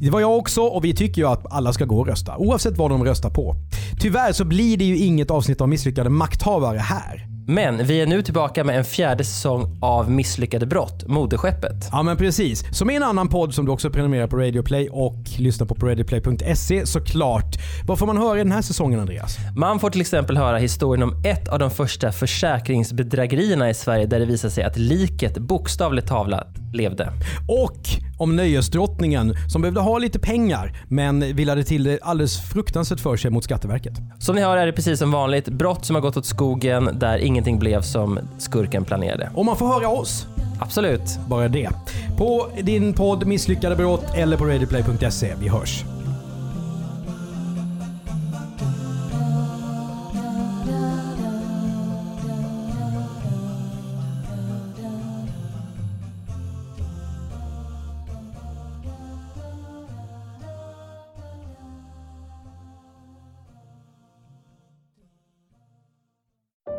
Det var jag också och vi tycker ju att alla ska gå och rösta. Oavsett vad de röstar på. Tyvärr så blir det ju inget avsnitt av Misslyckade Makthavare här. Men vi är nu tillbaka med en fjärde säsong av Misslyckade brott, moderskeppet. Ja men precis. Som är en annan podd som du också prenumererar på Radio Play och lyssnar på på radioplay.se såklart. Vad får man höra i den här säsongen Andreas? Man får till exempel höra historien om ett av de första försäkringsbedrägerierna i Sverige där det visar sig att liket bokstavligt talat levde. Och om nöjesdrottningen som behövde ha lite pengar men villade till det alldeles fruktansvärt för sig mot Skatteverket. Som ni hör är det precis som vanligt brott som har gått åt skogen där ingenting blev som skurken planerade. Och man får höra oss. Absolut. Bara det. På din podd Misslyckade brott eller på radioplay.se. Vi hörs.